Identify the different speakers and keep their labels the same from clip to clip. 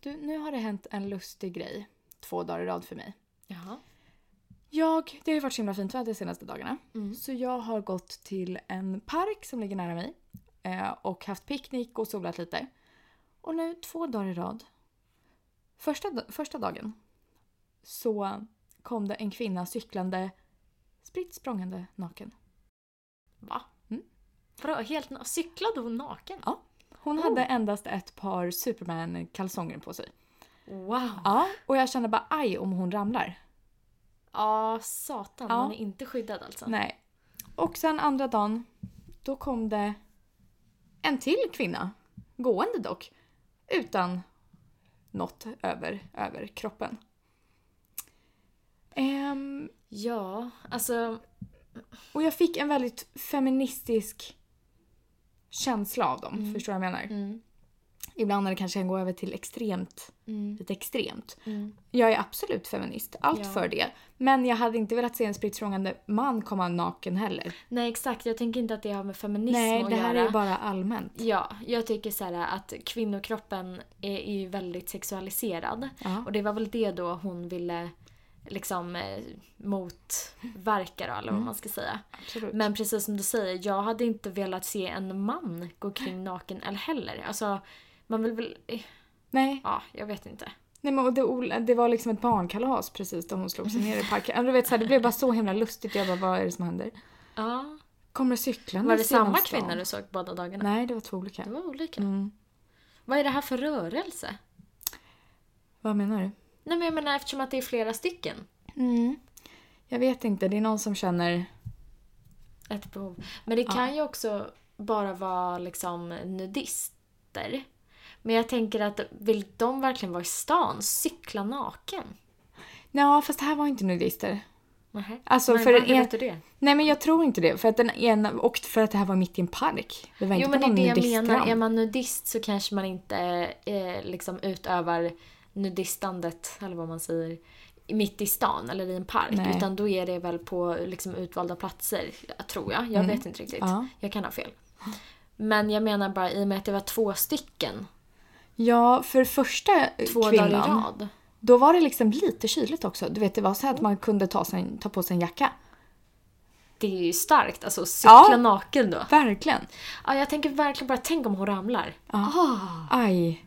Speaker 1: Du, nu har det hänt en lustig grej två dagar i rad för mig.
Speaker 2: Jaha.
Speaker 1: Jag, det har ju varit så himla fint väder de senaste dagarna.
Speaker 2: Mm.
Speaker 1: Så jag har gått till en park som ligger nära mig eh, och haft picknick och solat lite. Och nu två dagar i rad. Första, da- första dagen så kom det en kvinna cyklande spritt språngande naken.
Speaker 2: Va?
Speaker 1: Mm.
Speaker 2: Vadå, helt na- cyklade hon naken?
Speaker 1: Hon hade endast ett par Superman-kalsonger på sig.
Speaker 2: Wow! Ja,
Speaker 1: Ja, och jag kände bara aj om hon ramlar.
Speaker 2: satan.
Speaker 1: Ja.
Speaker 2: Man är inte skyddad alltså.
Speaker 1: Nej. Och sen andra dagen, då kom det en till kvinna. Gående dock. Utan något över, över kroppen. Ehm,
Speaker 2: Ja, alltså.
Speaker 1: och jag fick en väldigt feministisk känsla av dem.
Speaker 2: Mm.
Speaker 1: Förstår du vad jag menar?
Speaker 2: Mm,
Speaker 1: Ibland när det kanske kan gå över till extremt,
Speaker 2: mm,
Speaker 1: lite extremt.
Speaker 2: mm.
Speaker 1: Jag är absolut feminist, allt
Speaker 2: Ja.
Speaker 1: för det. Men jag hade inte velat se en spritt språngande man komma naken heller.
Speaker 2: Nej, exakt. Jag tänker inte att det har med feminism
Speaker 1: Nej,
Speaker 2: att
Speaker 1: det här
Speaker 2: göra.
Speaker 1: är ju bara allmänt.
Speaker 2: Ja, jag tycker så här att kvinnokroppen är, är ju väldigt sexualiserad.
Speaker 1: Ja.
Speaker 2: Och det var väl det då hon ville liksom eh, motverka då, eller
Speaker 1: Mm.
Speaker 2: vad man ska säga.
Speaker 1: Absolut.
Speaker 2: Men precis som du säger, jag hade inte velat se en man gå kring naken eller heller. Alltså, man vill väl... eh,
Speaker 1: Nej,
Speaker 2: Ja, jag vet inte.
Speaker 1: nej men och det, Ola- det var liksom ett barnkalas precis då hon slog sig ner i parken. Ja, Du vet, så här, det blev bara så himla lustigt. Jag bara, vad är det som händer?
Speaker 2: Ja.
Speaker 1: Kommer cyklande
Speaker 2: Var det
Speaker 1: genom
Speaker 2: samma
Speaker 1: stan?
Speaker 2: kvinna du såg båda dagarna?
Speaker 1: Nej, det var två
Speaker 2: Det
Speaker 1: olika.
Speaker 2: var olika.
Speaker 1: Mm.
Speaker 2: Vad är det här för rörelse?
Speaker 1: Vad menar du?
Speaker 2: Nej men jag menar eftersom att det är flera stycken. Mm.
Speaker 1: Jag vet inte, det är någon som känner...
Speaker 2: Ett behov. Men det kan ju också bara vara liksom nudister. Men jag tänker att vill de verkligen vara i stan? Cykla naken?
Speaker 1: Ja, fast det här var inte nudister.
Speaker 2: Nähä.
Speaker 1: Alltså,
Speaker 2: men
Speaker 1: för
Speaker 2: varför
Speaker 1: en-
Speaker 2: vet du det?
Speaker 1: Nej, men jag tror inte det. För att, den ena, och för att det här var mitt i en park. Det var inte
Speaker 2: Jo
Speaker 1: på
Speaker 2: men det
Speaker 1: någon
Speaker 2: är det jag
Speaker 1: nudiststrand.
Speaker 2: menar. Är man nudist så kanske man inte eh, liksom utövar nudistandet, eller vad man säger, mitt i stan eller i en park.
Speaker 1: Nej.
Speaker 2: Utan då är det väl på liksom, utvalda platser, tror jag. Jag vet inte riktigt.
Speaker 1: Mm. Ja.
Speaker 2: Jag kan ha fel. Men jag menar bara i och med att det var två stycken,
Speaker 1: Ja, för första eh,
Speaker 2: två
Speaker 1: kvinnan,
Speaker 2: dagar i rad.
Speaker 1: då var det liksom lite kyligt också. Du vet, det var så här att man kunde ta, sig, ta på sig en jacka.
Speaker 2: Det är ju starkt. Alltså cykla
Speaker 1: Ja.
Speaker 2: naken då.
Speaker 1: Verkligen.
Speaker 2: Ja, jag tänker verkligen bara, tänk om hon ramlar. Ah.
Speaker 1: Aj.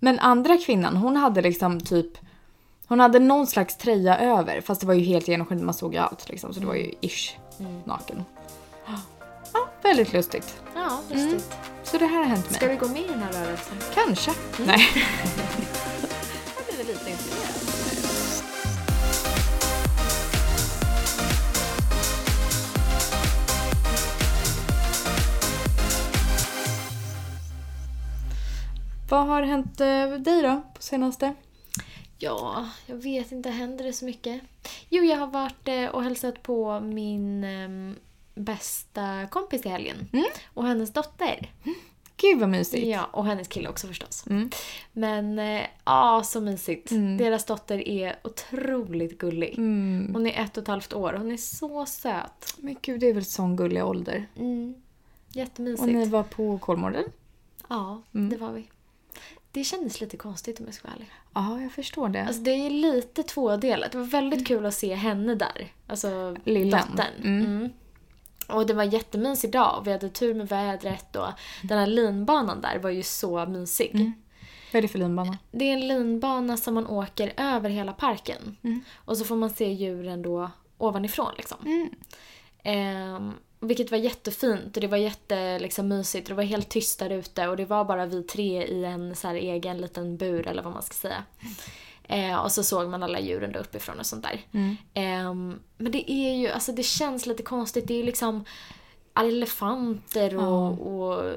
Speaker 1: Men andra kvinnan, hon hade liksom typ... Hon hade någon slags tröja över, fast det var ju helt genomskinligt, man såg ju allt liksom. Så det var ju ish naken. Ja, väldigt lustigt.
Speaker 2: Ja,
Speaker 1: Mm.
Speaker 2: lustigt.
Speaker 1: Så det här har hänt mig.
Speaker 2: Ska vi gå med i den här rörelsen?
Speaker 1: Kanske. Nej.
Speaker 2: Jag blev lite inspirerad.
Speaker 1: Vad har hänt eh, dig då, på senaste?
Speaker 2: Ja, jag vet inte. Händer det så mycket? Jo, jag har varit eh, och hälsat på min ehm, bästa kompis i helgen.
Speaker 1: Mm.
Speaker 2: Och hennes dotter.
Speaker 1: Gud vad mysigt.
Speaker 2: Ja, och hennes kille också förstås.
Speaker 1: Mm.
Speaker 2: Men eh, ja, så mysigt.
Speaker 1: Mm.
Speaker 2: Deras dotter är otroligt gullig.
Speaker 1: Mm.
Speaker 2: Hon är ett och ett halvt år. Hon är så söt.
Speaker 1: Men gud, det är väl sån gullig ålder.
Speaker 2: Mm. Jättemysigt.
Speaker 1: Och ni var på Kolmården?
Speaker 2: Ja,
Speaker 1: Mm.
Speaker 2: det var vi. Det kändes lite konstigt om jag ska vara ärlig.
Speaker 1: Ja, Mm. jag förstår det.
Speaker 2: Alltså det är lite tvådelat. Det var väldigt kul att se henne där. Alltså
Speaker 1: Lillen.
Speaker 2: dottern.
Speaker 1: Mm.
Speaker 2: Och det var en jättemysig dag. Vi hade tur med vädret och den här linbanan där var ju så
Speaker 1: Mm.
Speaker 2: mysig.
Speaker 1: Vad är det för linbana?
Speaker 2: Det är en linbana som man åker över hela parken. Och så får man se djuren då ovanifrån liksom.
Speaker 1: Mm.
Speaker 2: Ehm, vilket var jättefint och det var jätte, liksom, mysigt. Det var helt tyst där ute och det var bara vi tre i en så här, egen liten bur eller vad man ska säga. Ehm, och så såg man alla djuren där uppifrån och sånt där.
Speaker 1: Mm.
Speaker 2: Ehm, men det är ju, alltså det känns lite konstigt. Det är ju liksom elefanter och, och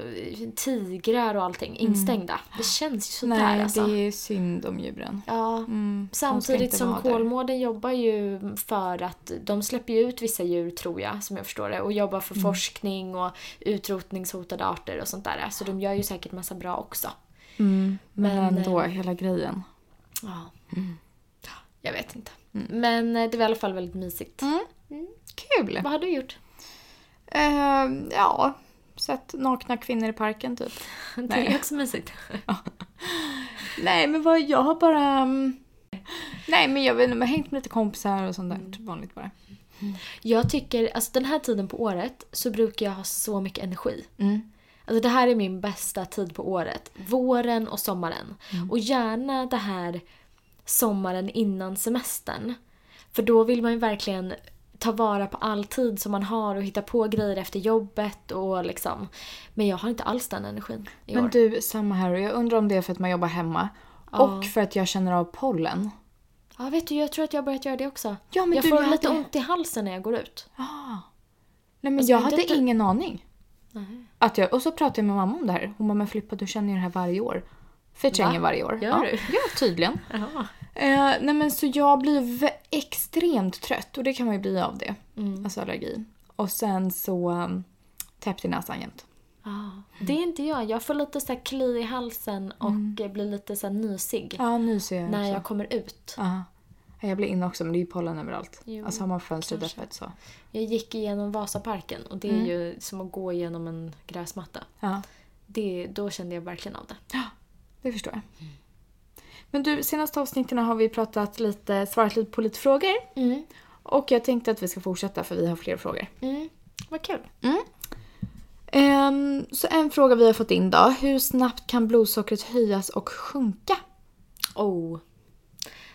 Speaker 2: tigrar och allting instängda. Det känns ju sådär
Speaker 1: Nej,
Speaker 2: alltså.
Speaker 1: det är synd om djuren.
Speaker 2: Ja.
Speaker 1: Mm, de ska
Speaker 2: Samtidigt
Speaker 1: inte
Speaker 2: som
Speaker 1: vara där.
Speaker 2: Kolmården jobbar ju för att de släpper ju ut vissa djur tror jag, som jag förstår det, och jobbar
Speaker 1: Mm.
Speaker 2: för forskning och utrotningshotade arter och sånt där. Så de gör ju säkert massa bra också.
Speaker 1: Mm, men,
Speaker 2: Men,
Speaker 1: ändå,
Speaker 2: eh,
Speaker 1: hela grejen.
Speaker 2: Ja. Mm. Jag vet inte.
Speaker 1: Mm.
Speaker 2: Men eh, det var i alla fall väldigt mysigt.
Speaker 1: Kul!
Speaker 2: Vad har du gjort?
Speaker 1: Eh, ja, sett nakna kvinnor i parken typ.
Speaker 2: Det är också mysigt.
Speaker 1: Nej men vad, jag har bara... mm, Nej men jag vet inte, men hängt med lite kompisar och sånt där. typ Vanligt bara.
Speaker 2: Jag tycker, alltså den här tiden på året så brukar jag ha så mycket energi.
Speaker 1: Mm.
Speaker 2: Alltså det här är min bästa tid på året. Våren och sommaren.
Speaker 1: Mm.
Speaker 2: Och gärna det här sommaren innan semestern. För då vill man ju verkligen ta vara på all tid som man har och hitta på grejer efter jobbet och liksom. Men jag har inte alls den energin i år.
Speaker 1: Men du, samma här. Och jag undrar om det är för att man jobbar hemma. Och för att jag känner av pollen.
Speaker 2: Ja, vet du, jag tror att jag har börjat göra det också.
Speaker 1: Ja, men
Speaker 2: jag
Speaker 1: du,
Speaker 2: får
Speaker 1: jag
Speaker 2: lite
Speaker 1: hade-
Speaker 2: ont i halsen när jag går ut.
Speaker 1: Nej men
Speaker 2: Alltså,
Speaker 1: jag
Speaker 2: det är
Speaker 1: hade
Speaker 2: inte-
Speaker 1: ingen aning.
Speaker 2: Nej.
Speaker 1: Att jag, och så pratade jag med mamma om det här. Hon bara, men Filippa du känner ju det här varje år. För jag
Speaker 2: Va?
Speaker 1: känner varje år.
Speaker 2: Gör
Speaker 1: ja,
Speaker 2: du?
Speaker 1: ja, tydligen. Eh, nej men så jag blir v- extremt trött och det kan man ju bli av det. Alltså allergi. Och sen så um, täppt i näsan jämt.
Speaker 2: Ja, det är inte jag. Jag får lite så här kli i halsen och eh, blir lite så här nysig
Speaker 1: Mm. Ja, nu ser jag
Speaker 2: när
Speaker 1: också.
Speaker 2: jag kommer ut.
Speaker 1: Ja. Ja, Jag blir inne också men det är ju pollen överallt.
Speaker 2: Jo,
Speaker 1: alltså har man fönstret
Speaker 2: kanske.
Speaker 1: öppet så.
Speaker 2: Jag gick igenom Vasaparken och det är
Speaker 1: Mm.
Speaker 2: ju som att gå igenom en gräsmatta.
Speaker 1: Ja,
Speaker 2: Det, då kände jag verkligen av det.
Speaker 1: det förstår jag. Men du, senaste avsnitten har vi pratat lite, svarat lite på lite frågor.
Speaker 2: Mm.
Speaker 1: Och jag tänkte att vi ska fortsätta för vi har fler frågor.
Speaker 2: Mm. Vad kul.
Speaker 1: Ehm, så en fråga vi har fått in då. Hur snabbt kan blodsockret höjas och sjunka?
Speaker 2: Oh.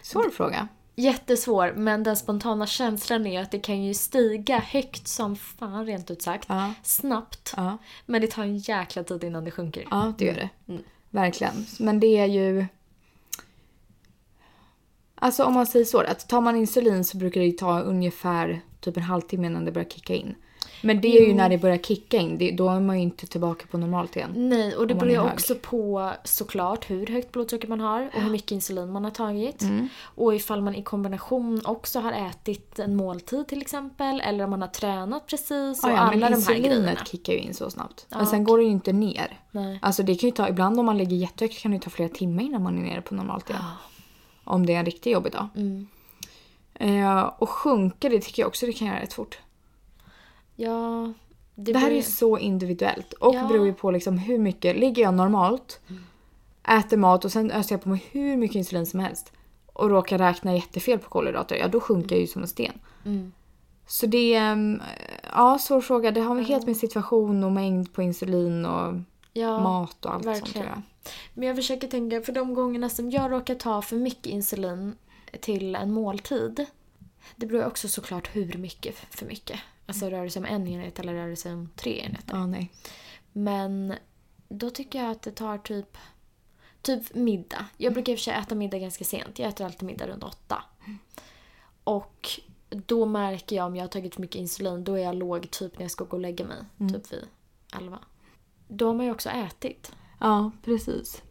Speaker 1: Svår fråga.
Speaker 2: Jättesvår, men den spontana känslan är att det kan ju stiga högt som fan rent ut sagt.
Speaker 1: Ja.
Speaker 2: Snabbt.
Speaker 1: Ja,
Speaker 2: Men det tar en jäkla tid innan det sjunker.
Speaker 1: ja det gör det.
Speaker 2: Mm.
Speaker 1: Verkligen. Men det är ju... Alltså om man säger så, att tar man insulin så brukar det ju ta ungefär typ en halvtimme innan det börjar kicka in. Men det är
Speaker 2: Mm.
Speaker 1: ju när det börjar kicka in, det, då är man ju inte tillbaka på normalt igen.
Speaker 2: Nej, och det
Speaker 1: Om man är
Speaker 2: beror ju
Speaker 1: hög.
Speaker 2: också på såklart hur högt blodsocker man har och hur mycket insulin man har tagit.
Speaker 1: Mm.
Speaker 2: Och ifall man i kombination också har ätit en måltid till exempel eller om man har tränat precis och
Speaker 1: Ja, ja,
Speaker 2: alla
Speaker 1: men
Speaker 2: de här grejerna.
Speaker 1: insulinet kickar ju in så snabbt. Men sen går det ju inte ner.
Speaker 2: Nej.
Speaker 1: Alltså det kan ju ta, ibland om man ligger jättehögt kan det ju ta flera timmar innan man är nere på normalt igen. Om det är en riktigt jobbig dag.
Speaker 2: Ah. Mm.
Speaker 1: Eh, och sjunka, det tycker jag också det kan göra rätt fort.
Speaker 2: Ja,
Speaker 1: Det här är ju
Speaker 2: beror-
Speaker 1: så individuellt och
Speaker 2: Typ- Ja.
Speaker 1: beror ju på liksom hur mycket. Ligger jag normalt, äter mat och sen öser jag på mig hur mycket insulin som helst och råkar räkna jättefel på kolhydrater, ja då sjunker jag ju som en sten.
Speaker 2: Mm.
Speaker 1: Så det är, ehm, ja svår fråga. Det har helt med situation och mängd på insulin och
Speaker 2: ja.
Speaker 1: mat och allt sånt
Speaker 2: verkligen.
Speaker 1: tror jag.
Speaker 2: Men jag försöker tänka, för de gångerna som jag råkar ta för mycket insulin till en måltid. Det beror ju också såklart hur mycket för mycket. Alltså rör det sig om en enhet eller rör det sig om tre enheter.
Speaker 1: Ja, nej.
Speaker 2: Men då tycker jag att det tar typ, typ middag.
Speaker 1: Mm.
Speaker 2: Jag brukar i och för sig äta middag ganska sent. Jag äter alltid middag runt åtta.
Speaker 1: Mm.
Speaker 2: Och då märker jag om jag har tagit för mycket insulin. Då är jag låg typ när jag ska gå och lägga mig.
Speaker 1: Mm.
Speaker 2: Typ vid elva. Då har man ju också ätit.
Speaker 1: Ja, precis.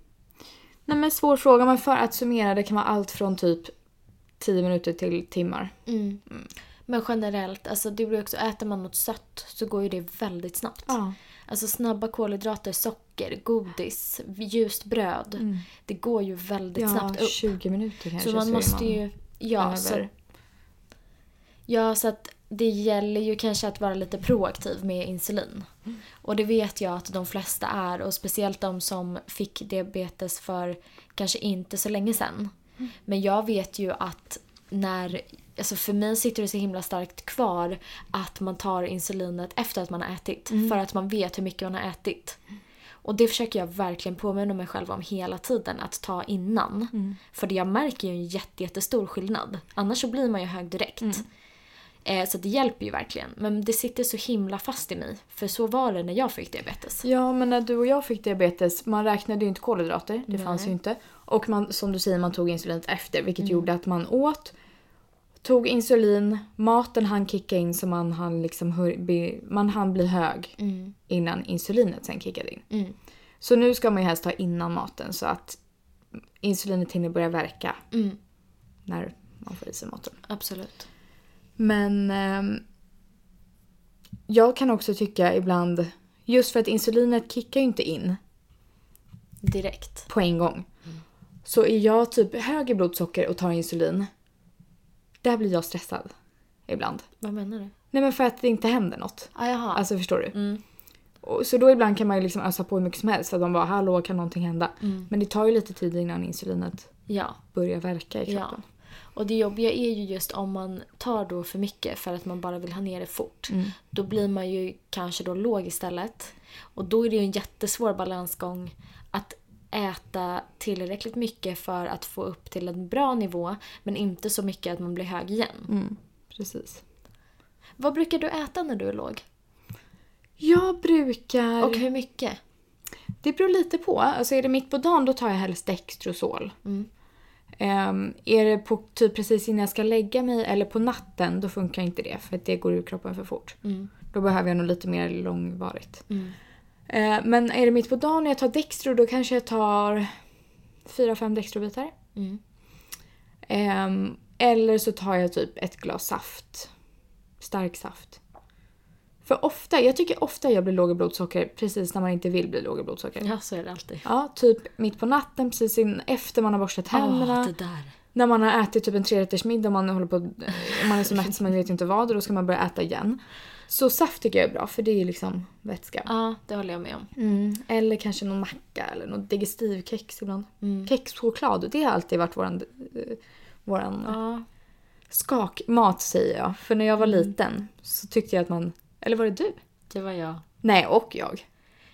Speaker 1: Nej men svår fråga, men för att summera det kan vara allt från typ 10 minuter till timmar.
Speaker 2: Mm. Men generellt, alltså det blir också, äter man något sött så går ju det väldigt snabbt.
Speaker 1: Ja.
Speaker 2: Alltså snabba kolhydrater, socker, godis, ljust bröd. Det går ju väldigt snabbt
Speaker 1: Mm. Ja,
Speaker 2: upp.
Speaker 1: 20 minuter kanske.
Speaker 2: Så man
Speaker 1: är
Speaker 2: måste ju... Ja,
Speaker 1: över.
Speaker 2: så, ja, så att det gäller ju kanske att vara lite proaktiv med insulin. Och det vet jag att de flesta är och speciellt de som fick diabetes för kanske inte så länge sedan. Men jag vet ju att när, alltså för mig sitter det så himla starkt kvar att man tar insulinet efter att man har ätit. För att man vet hur mycket man har ätit. Och det försöker jag verkligen påminna mig själv om hela tiden att ta innan. För det jag märker ju en jätte, jättestor skillnad. Annars så blir man ju hög direkt. Eh, så det hjälper ju verkligen. Men det sitter så himla fast i mig. För så var det när jag fick diabetes.
Speaker 1: Ja, men när du och jag fick diabetes, man räknade ju inte kolhydrater, det fanns ju inte. Och man, som du säger, man tog insulinet efter, vilket
Speaker 2: Mm.
Speaker 1: gjorde att man åt, tog insulin, maten hann kicka in så man hann, liksom, hör- bli- man hann bli hög innan insulinet sen kickade in.
Speaker 2: Mm.
Speaker 1: Så nu ska man ju helst ta innan maten så att insulinet hinner börja verka
Speaker 2: Mm.
Speaker 1: när man får i sig maten.
Speaker 2: Absolut.
Speaker 1: Men ehm, jag kan också tycka ibland, just för att insulinet kickar ju inte in
Speaker 2: Direkt.
Speaker 1: på en gång. Så är jag typ hög i blodsocker och tar insulin, där blir jag stressad ibland.
Speaker 2: Vad menar du?
Speaker 1: Nej men för att det inte händer något.
Speaker 2: Ah, jaha.
Speaker 1: Alltså förstår du? Och, så då ibland kan man ju liksom ösa på hur mycket som helst för att de bara “hallå, kan någonting hända?”
Speaker 2: Mm.
Speaker 1: Men det tar ju lite tid innan insulinet
Speaker 2: Ja.
Speaker 1: börjar verka i
Speaker 2: ja.
Speaker 1: kroppen.
Speaker 2: Och det jobbiga är ju just om man tar då för mycket för att man bara vill ha ner det fort.
Speaker 1: Mm.
Speaker 2: Då blir man ju kanske då låg istället. Och då är det ju en jättesvår balansgång att äta tillräckligt mycket för att få upp till en bra nivå men inte så mycket att man blir hög igen.
Speaker 1: Mm. Precis.
Speaker 2: Vad brukar du äta när du är låg?
Speaker 1: Jag brukar...
Speaker 2: Och hur mycket?
Speaker 1: Det beror lite på. Alltså är det mitt på dagen då tar jag helst Dextrosol.
Speaker 2: Mm.
Speaker 1: Ehm, är det på, typ precis innan jag ska lägga mig eller på natten då funkar inte det för att det går ur kroppen för fort.
Speaker 2: Mm.
Speaker 1: Då behöver jag nog lite mer långvarigt.
Speaker 2: Mm.
Speaker 1: Ehm, men är det mitt på dagen när jag tar Dextro då kanske jag tar 4-5 Dextrobitar.
Speaker 2: Mm.
Speaker 1: Ehm, eller så tar jag typ ett glas saft. Stark saft. För ofta, jag tycker ofta jag blir låg i blodsocker precis när man inte vill bli låg i blodsocker.
Speaker 2: Ja, så är det alltid.
Speaker 1: Ja, typ mitt på natten precis in, efter man har borstat händerna.
Speaker 2: Åh, det där.
Speaker 1: När man har ätit typ en trerättersmiddag och man, håller på, och man är så mätt så man vet inte vad och då ska man börja äta igen. Så saft tycker jag är bra för det är ju liksom vätska.
Speaker 2: Ja, det håller jag med om.
Speaker 1: Mm. Eller kanske någon macka eller något digestivkex ibland.
Speaker 2: Mm.
Speaker 1: Kexchoklad, det har alltid varit våran, eh, våran
Speaker 2: Ja.
Speaker 1: skakmat säger jag. För när jag var liten så tyckte jag att man, eller var det du?
Speaker 2: Det var jag.
Speaker 1: Nej, och jag.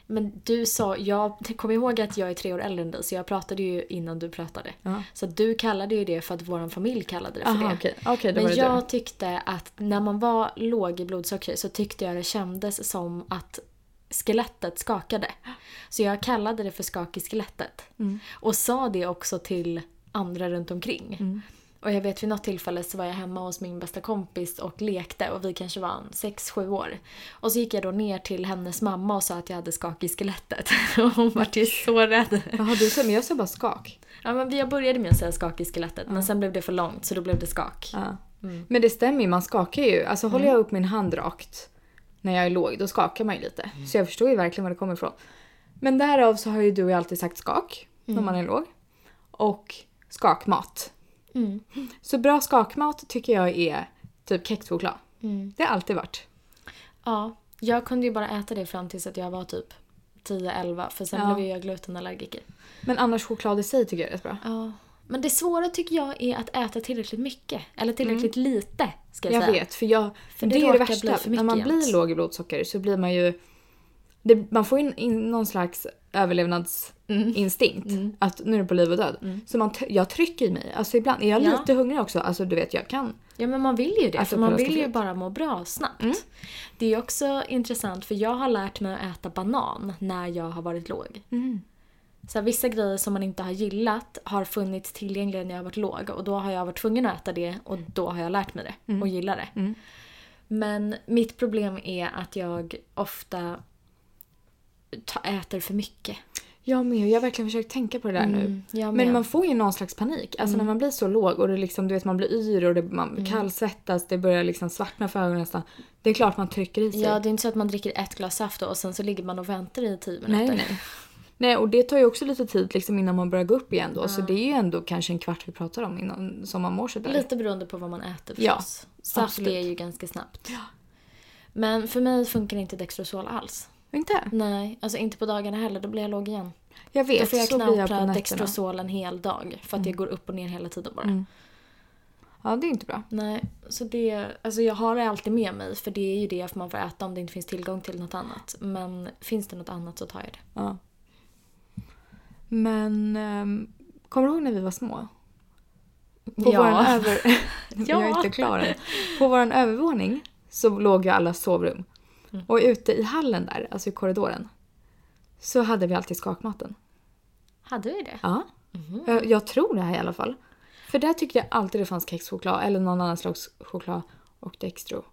Speaker 2: Men du sa, jag kom ihåg att jag är tre år äldre än dig så jag pratade ju innan du pratade.
Speaker 1: Ja.
Speaker 2: Så att du kallade ju det för att vår familj kallade det för
Speaker 1: Aha,
Speaker 2: det.
Speaker 1: okej. Okej, då var
Speaker 2: Men
Speaker 1: det
Speaker 2: jag tyckte att när man var låg i blodsocker så tyckte jag det kändes som att skelettet skakade. Så jag kallade det för skak i skelettet.
Speaker 1: Mm.
Speaker 2: Och sa det också till andra runt omkring.
Speaker 1: Mm.
Speaker 2: Och jag vet vid något tillfälle så var jag hemma hos min bästa kompis och lekte och vi kanske var en 6-7 år. Och så gick jag då ner till hennes mamma och sa att jag hade skak i skelettet. Och hon var ju så rädd.
Speaker 1: du. Jaha, du sa, men jag sa bara skak.
Speaker 2: Ja men jag började med att säga skak i skelettet men sen blev det för långt så då blev det skak.
Speaker 1: Ja.
Speaker 2: Mm.
Speaker 1: Men det stämmer ju, man skakar ju. Alltså håller jag upp min hand rakt när jag är låg, då skakar man ju lite.
Speaker 2: Mm.
Speaker 1: Så jag förstår ju verkligen var det kommer ifrån. Men därav så har ju du och jag alltid sagt skak när man är låg. Och skakmat.
Speaker 2: Mm.
Speaker 1: Så bra skakmat tycker jag är typ kexchoklad.
Speaker 2: Mm.
Speaker 1: Det har alltid varit.
Speaker 2: Ja, jag kunde ju bara äta det fram tills att jag var typ 10-11 för sen
Speaker 1: Ja.
Speaker 2: blev jag glutenallergiker.
Speaker 1: Men annars choklad i sig tycker jag är rätt bra.
Speaker 2: Ja. Men det svåra tycker jag är att äta tillräckligt mycket. Eller tillräckligt lite ska jag,
Speaker 1: Mm. Jag
Speaker 2: säga.
Speaker 1: vet, för, jag,
Speaker 2: För
Speaker 1: det,
Speaker 2: det
Speaker 1: är ju det
Speaker 2: råkar bli
Speaker 1: värsta.
Speaker 2: för
Speaker 1: När
Speaker 2: mycket
Speaker 1: man
Speaker 2: jämt.
Speaker 1: blir låg i blodsocker så blir man ju... Det, man får in, in någon slags överlevnadsinstinkt.
Speaker 2: Mm.
Speaker 1: Att nu är det på liv och död. Så man, t- jag trycker i mig. Alltså ibland är jag
Speaker 2: Ja.
Speaker 1: lite hungrig också. Alltså du vet, jag kan.
Speaker 2: Ja men man vill ju det. Mm.
Speaker 1: Alltså,
Speaker 2: för man
Speaker 1: kolla,
Speaker 2: vill ju
Speaker 1: skafferiet.
Speaker 2: bara må bra snabbt. Det är också intressant för jag har lärt mig att äta banan när jag har varit låg. Så här, vissa grejer som man inte har gillat har funnits tillgängliga när jag har varit låg och då har jag varit tvungen att äta det och då har jag lärt mig det och gillar det.
Speaker 1: Mm.
Speaker 2: Men mitt problem är att jag ofta ta- äter för mycket.
Speaker 1: Jag med. Jag har verkligen försökt tänka på det där nu.
Speaker 2: Mm, Jag
Speaker 1: Men
Speaker 2: med. Mm.
Speaker 1: man får ju någon slags panik. Alltså när man blir så låg och det liksom, du vet man blir yr och det, man kallsvettas. Det börjar liksom svartna för ögonen nästan. Det är klart man trycker i sig.
Speaker 2: Ja, det är inte så att man dricker ett glas saft och sen så ligger man och väntar i tio minuter.
Speaker 1: Nej, nej. Nej, och det tar ju också lite tid liksom innan man börjar gå upp igen då. Så det är ju ändå kanske en kvart vi pratar om innan som man mår sådär.
Speaker 2: Lite beroende på vad man äter
Speaker 1: Ja,
Speaker 2: förstås. Saft
Speaker 1: absolut.
Speaker 2: är ju ganska snabbt. Men för mig funkar inte Dextrosol alls.
Speaker 1: Inte?
Speaker 2: Nej, alltså inte på dagarna heller. Då blir jag låg igen.
Speaker 1: Jag vet,
Speaker 2: Då får jag
Speaker 1: så blir jag på
Speaker 2: knapra
Speaker 1: nätterna. Mm.
Speaker 2: Dextrosol en hel dag. För att jag går upp och ner hela tiden bara.
Speaker 1: Ja, det är inte bra.
Speaker 2: Nej, så det... Alltså jag har det alltid med mig. För det är ju det man får äta om det inte finns tillgång till något annat. Men finns det något annat så tar jag det.
Speaker 1: Ja. Men ehm, kommer du ihåg när vi var små? På
Speaker 2: Ja.
Speaker 1: våran över...
Speaker 2: Ja.
Speaker 1: Jag är inte klar än. På våran övervåning så låg ju alla sovrum.
Speaker 2: Mm.
Speaker 1: Och ute i hallen där, alltså i korridoren, så hade vi alltid skakmaten.
Speaker 2: Hade vi det?
Speaker 1: Ja.
Speaker 2: Mhm.
Speaker 1: Jag, jag tror det här i alla fall. För där tyckte jag alltid det fanns kexchoklad eller någon annan slags choklad och Dextro.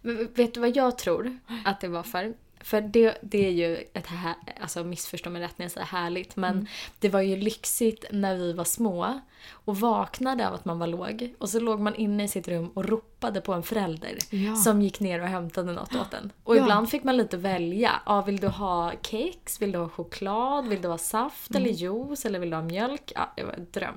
Speaker 2: Men vet du vad jag tror att det var för? För det, det är ju ett här, alltså missförstå mig rätt när jag säger härligt, men det var ju lyxigt när vi var små och vaknade av att man var låg och så låg man inne i sitt rum och ropade på en förälder
Speaker 1: Ja.
Speaker 2: som gick ner och hämtade något åt en. Och
Speaker 1: Ja.
Speaker 2: ibland fick man lite välja. Ja, vill du ha kex? Vill du ha choklad? Vill du ha saft
Speaker 1: Mm.
Speaker 2: eller juice? Eller vill du ha mjölk? Ja, det var en dröm.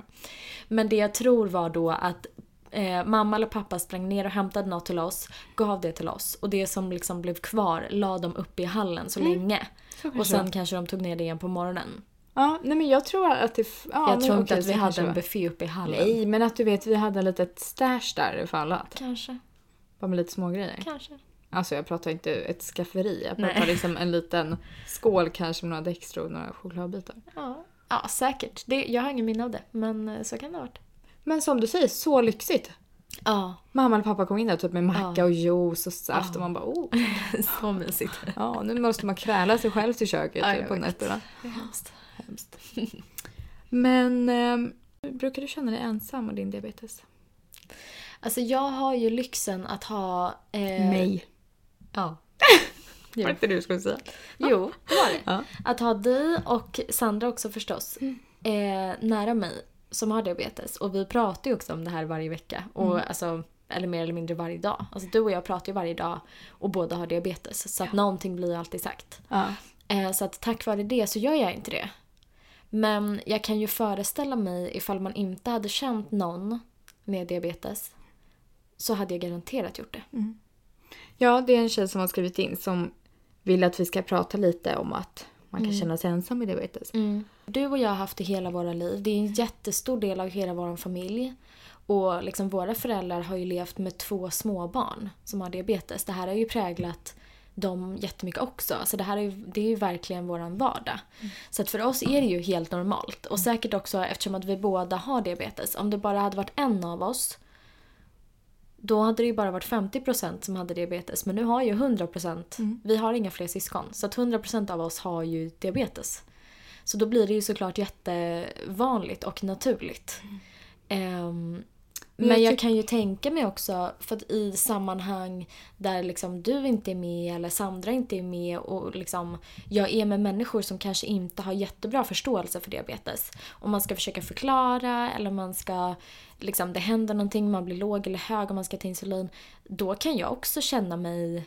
Speaker 2: Men det jag tror var då att eh, mamma eller pappa sprang ner och hämtade något till oss, gav det till oss och det som liksom blev kvar la de uppe i hallen
Speaker 1: Mm.
Speaker 2: så länge.
Speaker 1: Så kanske
Speaker 2: Och sen
Speaker 1: det
Speaker 2: kanske de tog ner det igen på morgonen.
Speaker 1: var. Ja, nej men jag tror att det... f- Ja,
Speaker 2: jag
Speaker 1: men
Speaker 2: tror inte
Speaker 1: okej,
Speaker 2: att
Speaker 1: så
Speaker 2: vi hade
Speaker 1: kanske
Speaker 2: en
Speaker 1: det
Speaker 2: buffé uppe i
Speaker 1: var.
Speaker 2: hallen.
Speaker 1: Nej, men att du vet, vi hade en litet stash där för alla.
Speaker 2: Kanske,
Speaker 1: Bara med lite smågrejer.
Speaker 2: kanske.
Speaker 1: Alltså jag pratar inte ett skafferi, jag
Speaker 2: Nej.
Speaker 1: pratar liksom en liten skål kanske med några Dextro och några chokladbitar.
Speaker 2: Ja, ja säkert. Det, jag har ingen minne av det, men eh, så kan det ha varit.
Speaker 1: Men som du säger, så lyxigt!
Speaker 2: Ja,
Speaker 1: Mamma eller pappa kom in där typ med macka
Speaker 2: Ja.
Speaker 1: och juice och saft
Speaker 2: Ja.
Speaker 1: och man bara oh,
Speaker 2: så mysigt.
Speaker 1: ja nu måste man kräla sig själv till köket
Speaker 2: Ja,
Speaker 1: typ,
Speaker 2: jag
Speaker 1: på
Speaker 2: vet.
Speaker 1: nätterna.
Speaker 2: Hemskt.
Speaker 1: Men ehm, brukar du känna dig ensam och din diabetes?
Speaker 2: Alltså jag har ju lyxen att ha... Eh,
Speaker 1: Nej.
Speaker 2: Ja.
Speaker 1: Var det inte det du skulle säga?
Speaker 2: Jo, det var det.
Speaker 1: Ja.
Speaker 2: Att ha dig och Sandra också förstås eh, nära mig som har diabetes. Och vi pratar ju också om det här varje vecka. Och alltså, eller mer eller mindre varje dag. Alltså du och jag pratar ju varje dag och båda har diabetes. Så att någonting blir ju alltid sagt.
Speaker 1: Ja.
Speaker 2: Eh, så att tack vare det så gör jag inte det. Men jag kan ju föreställa mig ifall man inte hade känt någon med diabetes så hade jag garanterat gjort det.
Speaker 1: ja, det är en tjej som har skrivit in som vill att vi ska prata lite om att man kan känna sig ensam med diabetes.
Speaker 2: Du och jag har haft det hela våra liv. Det är en jättestor del av hela vår familj. Och liksom våra föräldrar har ju levt med två småbarn som har diabetes. Det här har ju präglat dem jättemycket också. Så det här är ju, det är ju verkligen vår vardag. Så att för oss är det ju helt normalt. Och säkert också eftersom att vi båda har diabetes. Om det bara hade varit en av oss då hade det ju bara varit 50% som hade diabetes. Men nu har ju 100%, vi har inga fler syskon. Så att 100% av oss har ju diabetes. Så då blir det ju såklart jättevanligt och naturligt. Ehm,
Speaker 1: Men
Speaker 2: men
Speaker 1: jag
Speaker 2: jag,
Speaker 1: tyck-
Speaker 2: kan ju tänka mig också, för att i sammanhang där liksom du inte är med eller Sandra inte är med och liksom jag är med människor som kanske inte har jättebra förståelse för diabetes. Om man ska försöka förklara eller om man ska, liksom det händer någonting, man blir låg eller hög och man ska ta insulin. Då kan jag också känna mig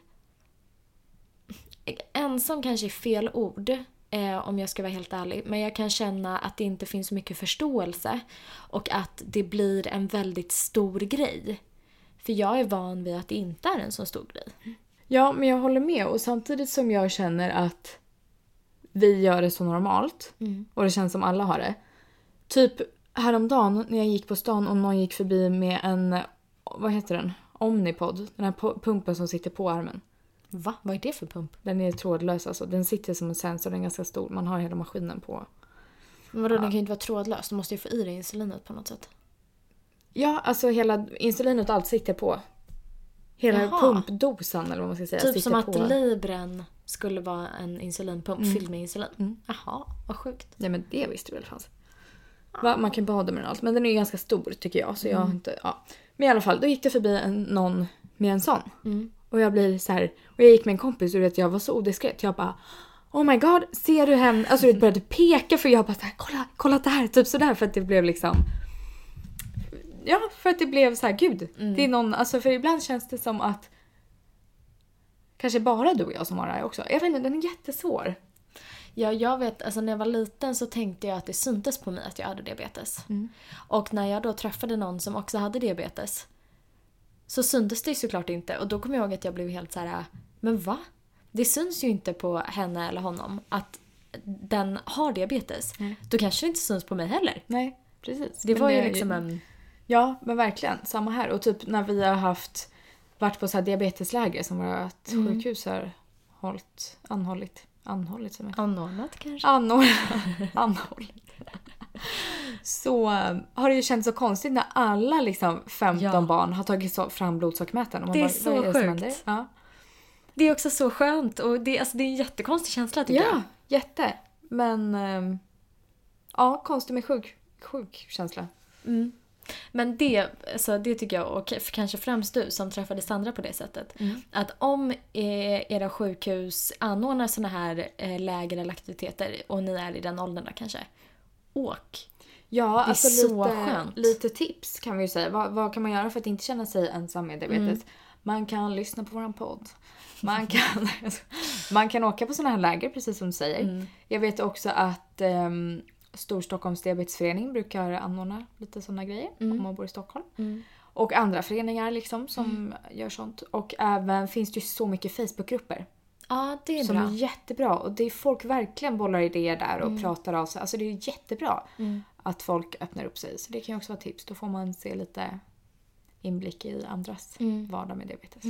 Speaker 2: ensam kanske är fel ord eh, om jag ska vara helt ärlig. Men jag kan känna att det inte finns så mycket förståelse och att det blir en väldigt stor grej. För jag är van vid att det inte är en så stor grej.
Speaker 1: Ja, men jag håller med. Och samtidigt som jag känner att vi gör det så normalt och det känns som alla har det. Typ häromdagen när jag gick på stan och någon gick förbi med en, vad heter den? Omnipod. Den här po- pumpen som sitter på armen.
Speaker 2: Va? Vad är det för pump?
Speaker 1: Den är trådlös alltså. Den sitter som en sensor, den är ganska stor. Man har hela maskinen på.
Speaker 2: Men vadå, den kan ju inte vara trådlös. Du måste ju få i dig insulinet på något sätt.
Speaker 1: Ja, alltså hela insulinet och allt sitter på. Hela
Speaker 2: Jaha.
Speaker 1: pumpdosan eller vad man ska säga.
Speaker 2: typ
Speaker 1: sitter
Speaker 2: som att
Speaker 1: på.
Speaker 2: Libren skulle vara en insulinpump fylld med insulin. Jaha, vad sjukt.
Speaker 1: Nej men det visste du väl fanns. Va? Man kan bada med den och allt. Men den är ju ganska stor tycker jag. Så jag har inte, ja. Men i alla fall, då gick det förbi en, någon med en sån. Och jag blir så här, och jag gick med en kompis och du vet, jag var såodiskret. Jag bara Oh my god, ser du henne? Alltså du vet, började peka för jag bara så här, kolla, kolla det här, typ sådär för att det blev liksom Ja, för att det blev så här, gud. Det är någon, alltså för ibland känns det som att kanske bara du och jag som har det här också. Jag vet inte, den är jättesvår.
Speaker 2: Ja, jag vet, alltså när jag var liten så tänkte jag att det syntes på mig att jag hade diabetes. Och när jag då träffade någon som också hade diabetes så syntes det ju såklart inte. Och då kom jag ihåg att jag blev helt så här: men va? Det syns ju inte på henne eller honom att den har diabetes. Då kanske det inte syns på mig heller.
Speaker 1: Nej, precis.
Speaker 2: Det
Speaker 1: Men
Speaker 2: var ju liksom en...
Speaker 1: Ja, men verkligen. Samma här. Och typ när vi har haft, varit på så här diabetesläger som vårt
Speaker 2: Mm.
Speaker 1: sjukhus har hållit, anhållit, anhållit som heter.
Speaker 2: Anordnat kanske?
Speaker 1: Anhåll- anhållit. Så eh, har det ju känts så konstigt när alla liksom 15
Speaker 2: Ja.
Speaker 1: barn har tagit så- fram blodsockermätaren. och man
Speaker 2: Det är
Speaker 1: bara,
Speaker 2: så
Speaker 1: "Vad som
Speaker 2: sjukt."
Speaker 1: händer?" Ja.
Speaker 2: Det är också så skönt och det, alltså, det är en jättekonstig känsla tycker jag.
Speaker 1: ja, jätte. Men ehm, ja, konstigt med sjuk, sjuk känsla.
Speaker 2: Mm. Men det, alltså det tycker jag, och k- kanske främst du som träffade Sandra på det sättet. Att om eh, era sjukhus anordnar såna här eh, läger eller aktiviteter och ni är i den åldern då kanske. Åk!
Speaker 1: Ja, alltså
Speaker 2: så
Speaker 1: lite,
Speaker 2: skönt.
Speaker 1: lite tips kan vi ju säga. Vad, vad kan man göra för att inte känna sig ensam med diabetes?
Speaker 2: Mm.
Speaker 1: Man kan lyssna på våran podd. Man kan, man kan åka på sådana här läger precis som du säger.
Speaker 2: Mm.
Speaker 1: Jag vet också att
Speaker 2: Mm.
Speaker 1: ehm, Storstockholms diabetesförening brukar anordna lite sådana grejer om man bor i Stockholm. Och andra föreningar liksom som
Speaker 2: Mm.
Speaker 1: gör sånt. Och även finns det ju så mycket Facebookgrupper
Speaker 2: Ja, det är
Speaker 1: som
Speaker 2: bra.
Speaker 1: är jättebra. Och det är folk verkligen bollar idéer där och pratar av sig. Alltså det är jättebra
Speaker 2: Mm.
Speaker 1: att folk öppnar upp sig. Så det kan ju också vara tips. Då får man se lite inblick i andras
Speaker 2: Mm.
Speaker 1: vardag med diabetes.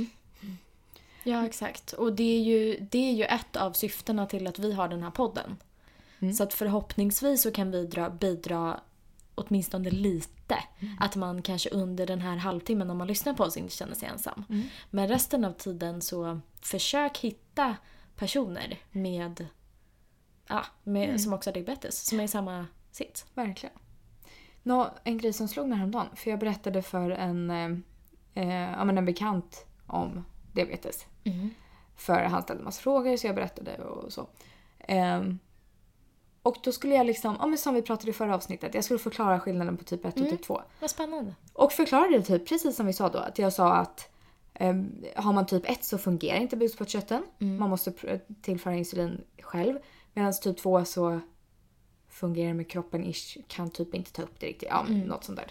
Speaker 2: Ja, exakt. Och det är, ju, det är ju ett av syftena till att vi har den här podden.
Speaker 1: Mm.
Speaker 2: Så att förhoppningsvis så kan vi dra, bidra åtminstone lite. Att man kanske under den här halvtimmen när man lyssnar på oss inte känner sig ensam. Men resten av tiden så försök hitta personer med, ja, med som också har diabetes, som är i samma sits.
Speaker 1: Verkligen. Nå, en grej som slog mig häromdagen. För jag berättade för en, eh, eh, ja, men en bekant om diabetes.
Speaker 2: Mm.
Speaker 1: För han ställde massa frågor så jag berättade och så. Ehm, och då skulle jag liksom, ja, men som vi pratade i förra avsnittet, jag skulle förklara skillnaden på typ 1 och
Speaker 2: Mm.
Speaker 1: typ 2.
Speaker 2: Vad spännande.
Speaker 1: Och förklarade det typ precis som vi sa då. Att jag sa att ehm, har man typ 1 så fungerar inte bukspottkörteln. Man måste pr- tillföra insulin själv. Medan typ 2 så fungerar med kroppen ish, kan typ inte ta upp det riktigt. Ja, men något sånt där.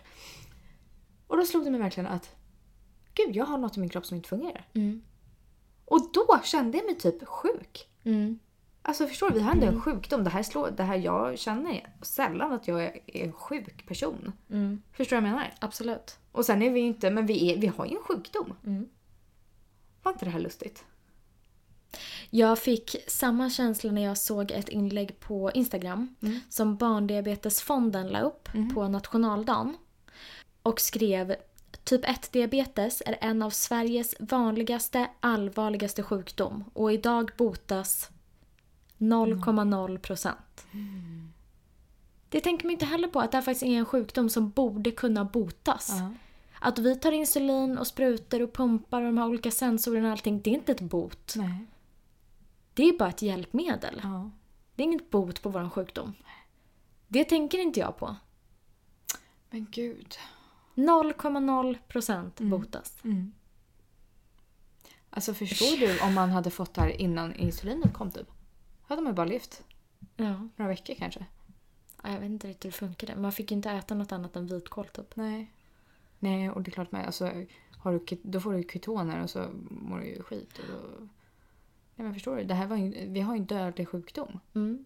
Speaker 1: Och då slog det mig verkligen att gud, jag har något i min kropp som inte fungerar.
Speaker 2: Mm.
Speaker 1: Och då kände jag mig typ sjuk.
Speaker 2: Mm.
Speaker 1: Alltså förstår du, vi har ändå en sjukdom. Det här, slår, det här jag känner sällan att jag är är en sjuk person.
Speaker 2: Mm.
Speaker 1: Förstår du vad jag menar?
Speaker 2: Absolut.
Speaker 1: Och sen är vi ju inte, men vi, är, vi har ju en sjukdom.
Speaker 2: Mm.
Speaker 1: Var inte det här lustigt?
Speaker 2: Jag fick samma känsla när jag såg ett inlägg på Instagram som Barndiabetesfonden la upp på nationaldagen och skrev Typ 1-diabetes är en av Sveriges vanligaste, allvarligaste sjukdom och idag botas 0,0 procent. Det tänker man inte heller på, att det här faktiskt är en sjukdom som borde kunna botas. Att vi tar insulin och sprutor och pumpar och de här olika sensorerna och allting, det är inte ett bot.
Speaker 1: Nej.
Speaker 2: Det är bara ett hjälpmedel.
Speaker 1: Ja.
Speaker 2: Det är inget bot på vår sjukdom. Det tänker inte jag på.
Speaker 1: Men gud.
Speaker 2: 0,0 procent
Speaker 1: Mm.
Speaker 2: botas.
Speaker 1: Alltså förstår du om man hade fått det här innan insulinet kom typ? Hade man ju bara levt
Speaker 2: Ja,
Speaker 1: några veckor kanske.
Speaker 2: Ja, jag vet inte riktigt hur det funkade. Man fick ju inte äta något annat än vitkål typ.
Speaker 1: Nej. Nej, och det är klart med. Alltså, har du, ke- då får du ju ketoner och så mår du ju skit. Och då... Nej men förstår du? Det här var ju, vi har ju en dödlig sjukdom.
Speaker 2: Mm.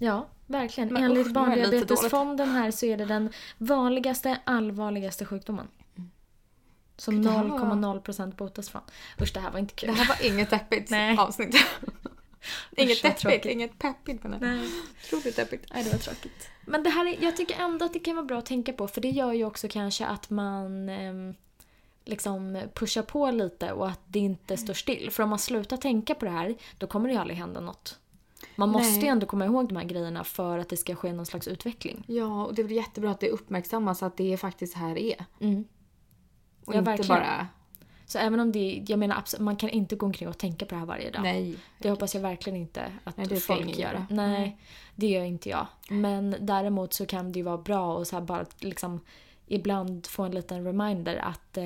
Speaker 2: Ja, verkligen.
Speaker 1: Men
Speaker 2: Enligt
Speaker 1: usch, det var lite
Speaker 2: Barndiabetesfonden här så är det den vanligaste, allvarligaste sjukdomen.
Speaker 1: Mm.
Speaker 2: Som
Speaker 1: Gud, det här var-
Speaker 2: 0,0 procent botas från. Usch, det här var inte kul.
Speaker 1: Det här var inget deppigt
Speaker 2: Nej.
Speaker 1: avsnitt.
Speaker 2: Usch,
Speaker 1: inget
Speaker 2: vad
Speaker 1: deppigt,
Speaker 2: tråkigt.
Speaker 1: inget peppigt men
Speaker 2: Nej.
Speaker 1: otroligt deppigt.
Speaker 2: Nej, det var tråkigt. Men det här är, jag tycker ändå att det kan vara bra att tänka på för det gör ju också kanske att man ehm, liksom pushar på lite och att det inte står still. För om man slutar tänka på det här då kommer det ju aldrig hända något. Man måste
Speaker 1: Nej.
Speaker 2: ju ändå komma ihåg de här grejerna för att det ska ske någon slags utveckling.
Speaker 1: Ja, och det är väl jättebra att det uppmärksammas att det är faktiskt här det är.
Speaker 2: Mm.
Speaker 1: Och
Speaker 2: Ja,
Speaker 1: inte
Speaker 2: verkligen.
Speaker 1: bara...
Speaker 2: Så även om det, jag menar absolut, man kan inte gå omkring och tänka på det här varje dag.
Speaker 1: Nej.
Speaker 2: Det hoppas jag verkligen inte att
Speaker 1: Nej, det ska
Speaker 2: folk
Speaker 1: ingen
Speaker 2: gör.
Speaker 1: göra.
Speaker 2: Nej, det gör inte jag. Men däremot så kan det ju vara bra och så här bara liksom ibland få en liten reminder att eh,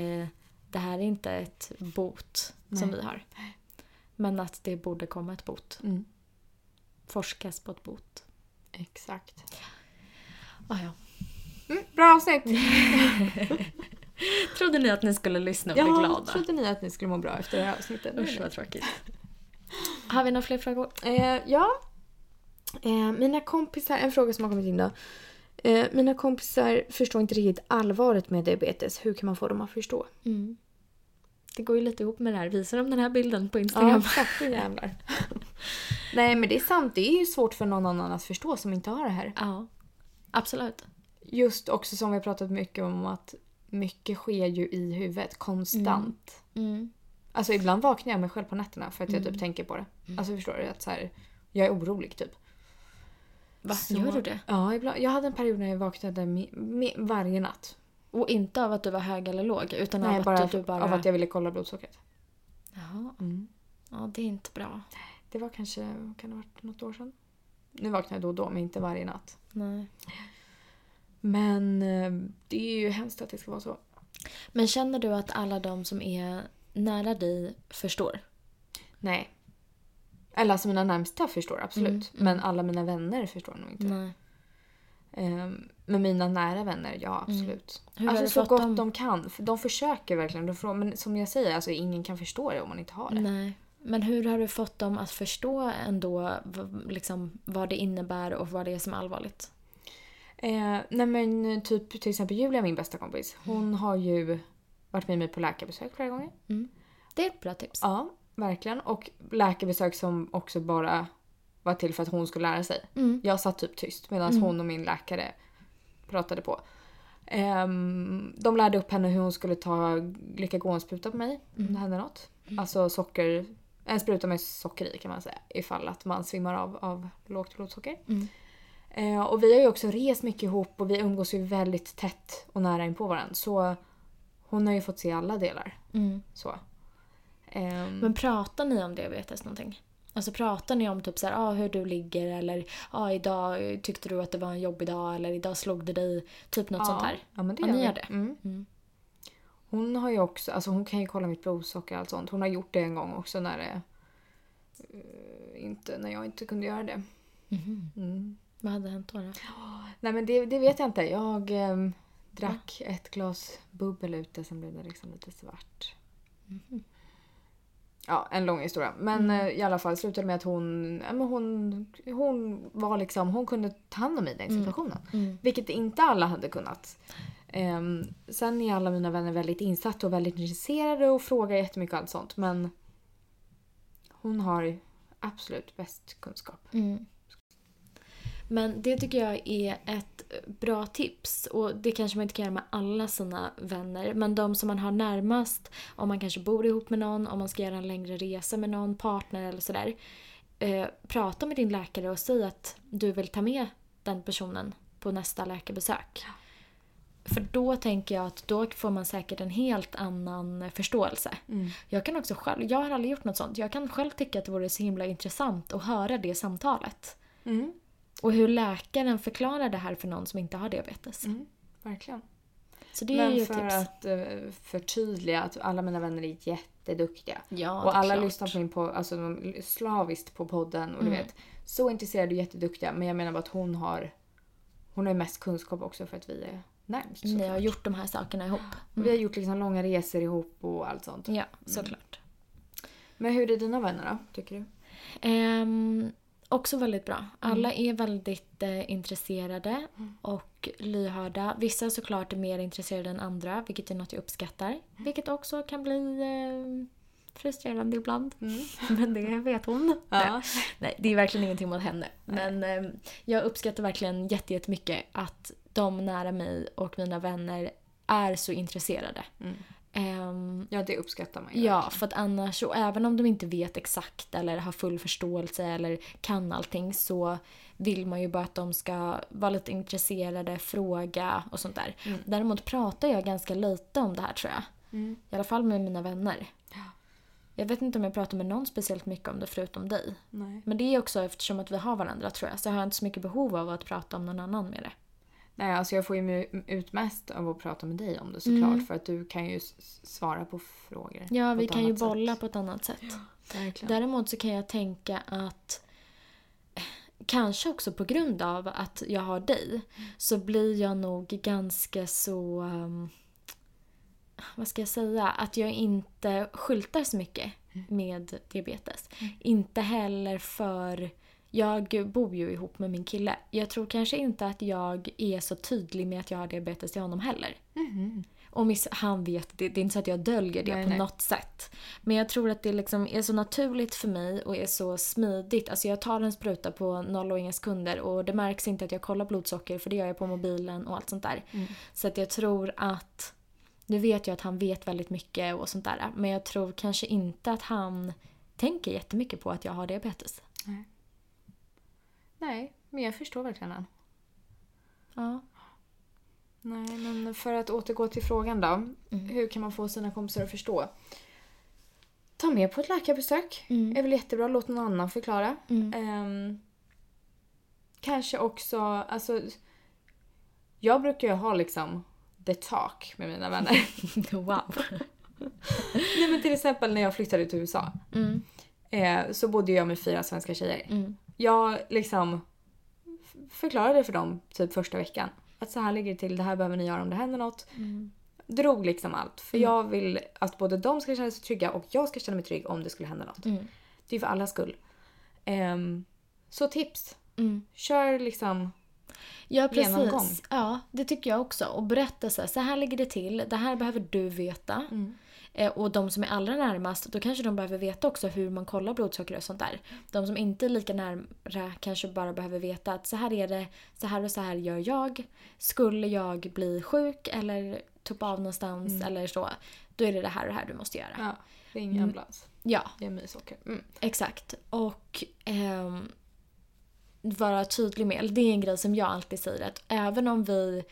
Speaker 2: det här är inte ett bot som vi har. Men att det borde komma ett bot.
Speaker 1: Mm.
Speaker 2: Forskas på ett bot.
Speaker 1: Exakt.
Speaker 2: Ah, ja.
Speaker 1: Mm, bra avsnitt!
Speaker 2: Trodde ni att ni skulle lyssna och bli
Speaker 1: Ja,
Speaker 2: glada?
Speaker 1: trodde ni att ni skulle må bra efter det här avsnittet?
Speaker 2: Usch vad tråkigt. Har vi några fler frågor?
Speaker 1: Eh, ja. Eh, mina kompisar, en fråga som har kommit in då. Eh, mina kompisar förstår inte riktigt allvaret med diabetes. Hur kan man få dem att förstå?
Speaker 2: Mm. Det går ju lite ihop med det här. Visar de den här bilden på Instagram?
Speaker 1: fattar jävlar. Nej men det är sant, det är ju svårt för någon annan att förstå som inte har det här.
Speaker 2: ja. Absolut.
Speaker 1: Just också som vi har pratat mycket om att mycket sker ju i huvudet konstant.
Speaker 2: Mm.
Speaker 1: Alltså ibland vaknar jag mig själv på nätterna för att jag typ tänker på det.
Speaker 2: Mm.
Speaker 1: Alltså förstår du? Att så här, jag är orolig typ.
Speaker 2: Va?
Speaker 1: Så-
Speaker 2: Gör du det?
Speaker 1: Ja, ibland, jag hade en period när jag vaknade mi- mi- varje natt.
Speaker 2: Och inte av att du var hög eller låg utan
Speaker 1: Nej,
Speaker 2: av,
Speaker 1: bara, typ
Speaker 2: att du, du bara...
Speaker 1: av att jag ville kolla blodsockret.
Speaker 2: Jaha.
Speaker 1: Mm.
Speaker 2: Ja, det är inte bra.
Speaker 1: Det var kanske, kan det ha varit något år sedan? Nu vaknar jag då och då men inte varje natt.
Speaker 2: Nej.
Speaker 1: Men eh, det är ju hemskt att det ska vara så.
Speaker 2: Men känner du att alla de som är nära dig förstår?
Speaker 1: Nej.
Speaker 2: Mm,
Speaker 1: Eller alltså mina närmsta förstår absolut. Men alla mina vänner förstår nog inte.
Speaker 2: Nej.
Speaker 1: Ehm, men mina nära vänner, ja absolut.
Speaker 2: Mm. Hur har
Speaker 1: alltså
Speaker 2: du
Speaker 1: så
Speaker 2: fått
Speaker 1: gott
Speaker 2: dem?
Speaker 1: de kan. För de försöker verkligen. De får, men som jag säger, alltså, ingen kan förstå det om man inte har det.
Speaker 2: Nej. Men hur har du fått dem att förstå ändå v- liksom, vad det innebär och vad det är som är allvarligt?
Speaker 1: Eh, nej men typ till exempel Julia, min bästa kompis.
Speaker 2: Mm.
Speaker 1: Hon har ju varit med mig på läkarbesök flera gånger.
Speaker 2: Det är ett bra tips.
Speaker 1: Ja, verkligen. Och läkarbesök som också bara var till för att hon skulle lära sig.
Speaker 2: Mm.
Speaker 1: Jag satt typ tyst medan hon och min läkare pratade på. Ehm, de lärde upp henne hur hon skulle ta glykagonspruta på mig om
Speaker 2: Mm.
Speaker 1: det hände något. Alltså socker, en spruta med socker i kan man säga ifall att man svimmar av av lågt blodsocker.
Speaker 2: Mm.
Speaker 1: Eh, och vi har ju också rest mycket ihop och vi umgås ju väldigt tätt och nära in på varandra. Så hon har ju fått se alla delar.
Speaker 2: Mm.
Speaker 1: Så. Ehm,
Speaker 2: Men pratar ni om diabetes någonting? Alltså pratar ni om typ så här, ah, hur du ligger eller ah, idag tyckte du att det var en jobbig dag eller idag slog det dig. Typ något sånt här.
Speaker 1: Ja, men det
Speaker 2: Ja,
Speaker 1: gör
Speaker 2: ni
Speaker 1: vi.
Speaker 2: gör det.
Speaker 1: Mm.
Speaker 2: Mm.
Speaker 1: Hon har ju också, alltså hon kan ju kolla mitt blodsocker och allt sånt. Hon har gjort det en gång också när det eh, inte, när jag inte kunde göra det.
Speaker 2: Mhm.
Speaker 1: Mm.
Speaker 2: Vad hade hänt då? då?
Speaker 1: Nej men det, det vet jag inte. Jag ehm, drack ett glas bubbel ute, sen blev det liksom lite svart. Ja, en lång historia. Men eh, i alla fall slutade med att hon, ja, men hon, hon var liksom, hon kunde ta hand om mig i den situationen.
Speaker 2: Mm.
Speaker 1: Vilket inte alla hade kunnat. Ehm, sen är alla mina vänner väldigt insatta och väldigt intresserade och frågar jättemycket och allt sånt. Men hon har absolut bäst kunskap.
Speaker 2: Mm. Men det tycker jag är ett bra tips. Och det kanske man inte kan göra med alla sina vänner. Men de som man har närmast, om man kanske bor ihop med någon, om man ska göra en längre resa med någon, partner eller sådär. Eh, prata med din läkare och säg att du vill ta med den personen på nästa läkarbesök. För då tänker jag att då får man säkert en helt annan förståelse. Jag kan också själv, jag har aldrig gjort något sånt. Jag kan själv tycka att det vore så himla intressant att höra det samtalet.
Speaker 1: Mm.
Speaker 2: Och hur läkaren förklarar det här för någon som inte har diabetes.
Speaker 1: Verkligen.
Speaker 2: Så det är ju
Speaker 1: Mm. Men
Speaker 2: ett
Speaker 1: för
Speaker 2: tips.
Speaker 1: att eh, förtydliga att alla mina vänner är jätteduktiga.
Speaker 2: Ja, det
Speaker 1: och
Speaker 2: är
Speaker 1: alla
Speaker 2: klart.
Speaker 1: lyssnar på min podd, alltså de l- slaviskt på podden och du vet. Så intresserade och jätteduktiga. Men jag menar bara att hon har, hon har ju mest kunskap också för att vi är närmst. såklart.
Speaker 2: Ni har gjort de här sakerna ihop.
Speaker 1: Vi har gjort liksom långa resor ihop och allt sånt.
Speaker 2: Ja, såklart.
Speaker 1: Men hur är dina vänner då, tycker du?
Speaker 2: Ehm, också väldigt bra. Alla är väldigt eh, intresserade och lyhörda. Vissa såklart är mer intresserade än andra, vilket är något jag uppskattar. Vilket också kan bli eh, frustrerande ibland. Men det vet hon.
Speaker 1: Ja.
Speaker 2: Nej, det är verkligen ingenting mot henne. Men eh, jag uppskattar verkligen jätte- jättemycket att de nära mig och mina vänner är så intresserade. Ehm,
Speaker 1: Ja, det uppskattar man ju.
Speaker 2: Ja, för att annars, och även om de inte vet exakt eller har full förståelse eller kan allting så vill man ju bara att de ska vara lite intresserade, fråga och sånt där. Däremot pratar jag ganska lite om det här tror jag. I alla fall med mina vänner. Jag vet inte om jag pratar med någon speciellt mycket om det förutom dig.
Speaker 1: Nej.
Speaker 2: Men det är också eftersom att vi har varandra tror jag, så jag har inte så mycket behov av att prata om någon annan med det.
Speaker 1: Nej, alltså jag får ju mu- ut mest av att prata med dig om det såklart. För att du kan ju s- svara på frågor.
Speaker 2: Mm. Ja,
Speaker 1: på
Speaker 2: vi
Speaker 1: ett
Speaker 2: kan ju
Speaker 1: annat sätt.
Speaker 2: bolla på ett annat sätt.
Speaker 1: Verkligen.
Speaker 2: Däremot så kan jag tänka att eh, kanske också på grund av att jag har dig så blir jag nog ganska så... ehm, vad ska jag säga? Att jag inte skyltar så mycket
Speaker 1: Mm.
Speaker 2: med diabetes. Inte heller för... Jag bor ju ihop med min kille. Jag tror kanske inte att jag är så tydlig med att jag har diabetes till honom heller. Och miss, han vet det. Det är inte så att jag döljer det
Speaker 1: Mm-hmm. Nej,
Speaker 2: på
Speaker 1: nej.
Speaker 2: något sätt. Men jag tror att det liksom är så naturligt för mig och är så smidigt. Alltså jag tar en spruta på noll och inga sekunder och det märks inte att jag kollar blodsocker för det gör jag på mobilen och allt sånt där.
Speaker 1: Mm.
Speaker 2: Så att jag tror att... Nu vet jag att han vet väldigt mycket och sånt där. Men jag tror kanske inte att han tänker jättemycket på att jag har diabetes.
Speaker 1: Nej, men jag förstår verkligen den.
Speaker 2: Ja.
Speaker 1: Nej, men för att återgå till frågan då.
Speaker 2: Mm.
Speaker 1: Hur kan man få sina kompisar att förstå? Ta med på ett läkarbesök.
Speaker 2: Mm.
Speaker 1: är väl jättebra. Låt någon annan förklara.
Speaker 2: Mm.
Speaker 1: Ehm, kanske också, alltså. Jag brukar ju ha liksom the talk med mina vänner.
Speaker 2: Wow.
Speaker 1: Nej men till exempel när jag flyttade till USA.
Speaker 2: Mm.
Speaker 1: Eh, så bodde jag med fyra svenska tjejer.
Speaker 2: Mm.
Speaker 1: Jag liksom f- förklarade för dem typ första veckan. Att så här ligger det till, det här behöver ni göra om det händer något.
Speaker 2: Mm.
Speaker 1: Drog liksom allt. För jag vill att både de ska känna sig trygga och jag ska känna mig trygg om det skulle hända något.
Speaker 2: Mm.
Speaker 1: Det är för allas skull. Ehm, så tips.
Speaker 2: Mm.
Speaker 1: Kör liksom.
Speaker 2: Ja, precis.
Speaker 1: Genomgång.
Speaker 2: Ja, det tycker jag också. Och berätta så här, så här ligger det till. Det här behöver du veta.
Speaker 1: Mm.
Speaker 2: Eh, och de som är allra närmast, då kanske de behöver veta också hur man kollar blodsocker och sånt där. De som inte är lika nära kanske bara behöver veta att så här är det, så här och så här gör jag. Skulle jag bli sjuk eller tuppa av någonstans eller så, då är det det här och det här du måste göra.
Speaker 1: Mm. Ja,
Speaker 2: Mm.
Speaker 1: ring ambulans.
Speaker 2: ja.
Speaker 1: Ge mig socker. Mm.
Speaker 2: Exakt. Och ehm, vara tydlig med, det är en grej som jag alltid säger att även om vi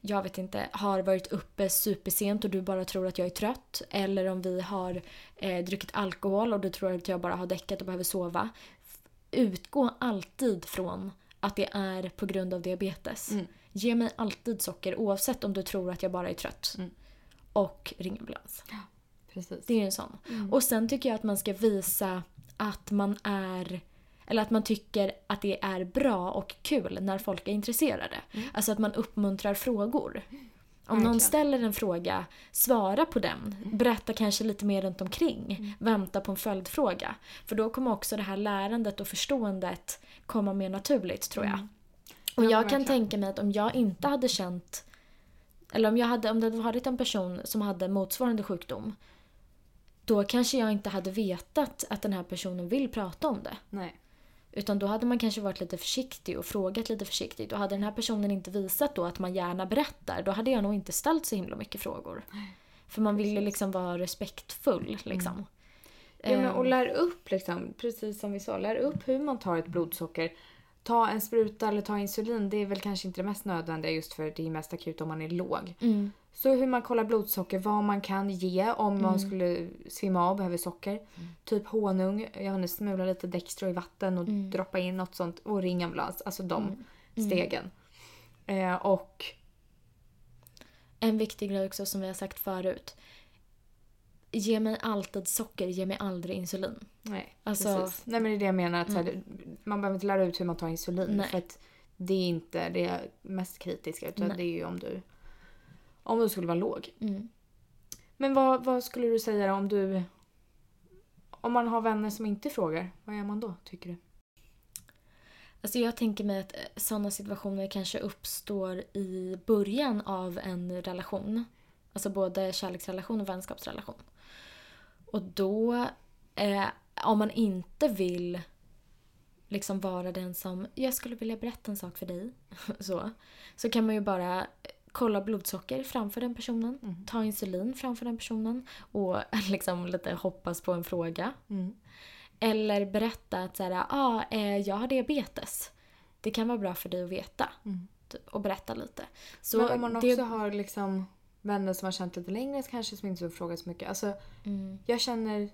Speaker 2: jag vet inte, har varit uppe supersent och du bara tror att jag är trött. Eller om vi har eh, druckit alkohol och du tror att jag bara har däckat och behöver sova. F- Utgå alltid från att det är på grund av diabetes.
Speaker 1: Mm.
Speaker 2: Ge mig alltid socker oavsett om du tror att jag bara är trött.
Speaker 1: Mm.
Speaker 2: Och ring ambulans.
Speaker 1: Precis. Mm.
Speaker 2: Det är ju en sån. Och sen tycker jag att man ska visa att man är eller att man tycker att det är bra och kul när folk är intresserade. Alltså att man uppmuntrar frågor. Om
Speaker 1: Mm. Verkligen. Mm.
Speaker 2: någon ställer en fråga, svara på den. Berätta kanske lite mer runt omkring. Vänta på en följdfråga. För då kommer också det här lärandet och förståendet komma mer naturligt tror jag.
Speaker 1: Mm.
Speaker 2: Och
Speaker 1: Ja,
Speaker 2: jag
Speaker 1: verkligen.
Speaker 2: kan tänka mig att om jag inte hade känt eller om, jag hade, om det hade varit en person som hade motsvarande sjukdom då kanske jag inte hade vetat att den här personen vill prata om det.
Speaker 1: Nej.
Speaker 2: Utan då hade man kanske varit lite försiktig och frågat lite försiktigt. Och hade den här personen inte visat då att man gärna berättar, då hade jag nog inte ställt så himla mycket frågor. För man vill ju liksom vara
Speaker 1: Mm.
Speaker 2: respektfull. Liksom.
Speaker 1: Ja, men, och
Speaker 2: Ehm,
Speaker 1: lär upp liksom, precis som vi sa, lär upp hur man tar ett blodsocker. Ta en spruta eller ta insulin, det är väl kanske inte det mest nödvändiga just för det är mest akut om man är låg.
Speaker 2: mm,
Speaker 1: Så hur man kollar blodsocker, vad man kan ge om
Speaker 2: Mm.
Speaker 1: man skulle svimma av och behöver socker. Typ honung, jag har nu smula lite Dextro i vatten och
Speaker 2: Mm.
Speaker 1: droppa in något sånt och ring ambulans. Alltså de stegen. Eh, och
Speaker 2: en viktig grej också som vi har sagt förut. Ge mig alltid socker, ge mig aldrig insulin.
Speaker 1: nej,
Speaker 2: Alltså-
Speaker 1: precis. Nej men det är det jag menar, att så här, man behöver inte lära ut hur man tar insulin.
Speaker 2: Mm. Nej.
Speaker 1: För att det är inte det mest kritiska utan
Speaker 2: Nej.
Speaker 1: det är ju om du, om du skulle vara låg.
Speaker 2: Mm.
Speaker 1: Men vad, vad skulle du säga om du, om man har vänner som inte frågar, vad gör man då tycker du?
Speaker 2: Alltså jag tänker mig att sådana situationer kanske uppstår i början av en relation. Alltså både kärleksrelation och vänskapsrelation. Och då, eh, om man inte vill liksom vara den som “jag skulle vilja berätta en sak för dig” så, så kan man ju bara eh, kolla blodsocker framför den personen, ta insulin framför den personen och liksom lite hoppas på en fråga. Eller berätta att så här, ah, eh, jag har diabetes. Det kan vara bra för dig att veta. Typ, Och berätta lite. Så
Speaker 1: Mm. men om man
Speaker 2: det-
Speaker 1: också har liksom vänner som har känt lite längre kanske som inte har frågat så mycket. Alltså, Jag känner,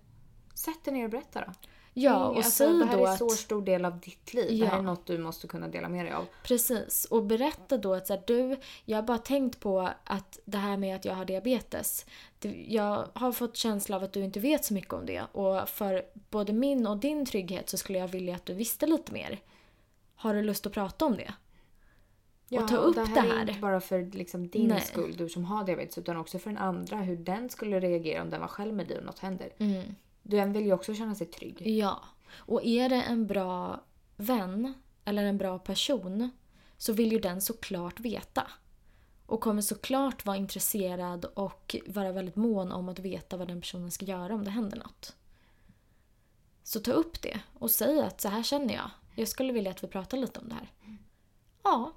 Speaker 1: sätt dig ner och berätta då.
Speaker 2: mm. ja, och
Speaker 1: alltså,
Speaker 2: säg
Speaker 1: det här
Speaker 2: då
Speaker 1: är en så
Speaker 2: att...
Speaker 1: stor del av ditt liv. Det här
Speaker 2: Ja.
Speaker 1: är något du måste kunna dela med dig av.
Speaker 2: Precis. Och berätta då att så här, du, jag har bara tänkt på att det här med att jag har diabetes. Det, jag har fått känsla av att du inte vet så mycket om det. Och för både min och din trygghet så skulle jag vilja att du visste lite mer. Har du lust att prata om det? och ta upp det här.
Speaker 1: Det här är inte bara för liksom, din
Speaker 2: Nej.
Speaker 1: skull, du som har diabetes, utan också för den andra. Hur den skulle reagera om den var själv med dig och något händer.
Speaker 2: Mm.
Speaker 1: Den vill ju också känna sig trygg.
Speaker 2: Ja. Och är det en bra vän eller en bra person så vill ju den såklart veta. Och kommer såklart vara intresserad och vara väldigt mån om att veta vad den personen ska göra om det händer något. Så ta upp det och säg att så här känner jag. Jag skulle vilja att vi pratar lite om det här. Ja,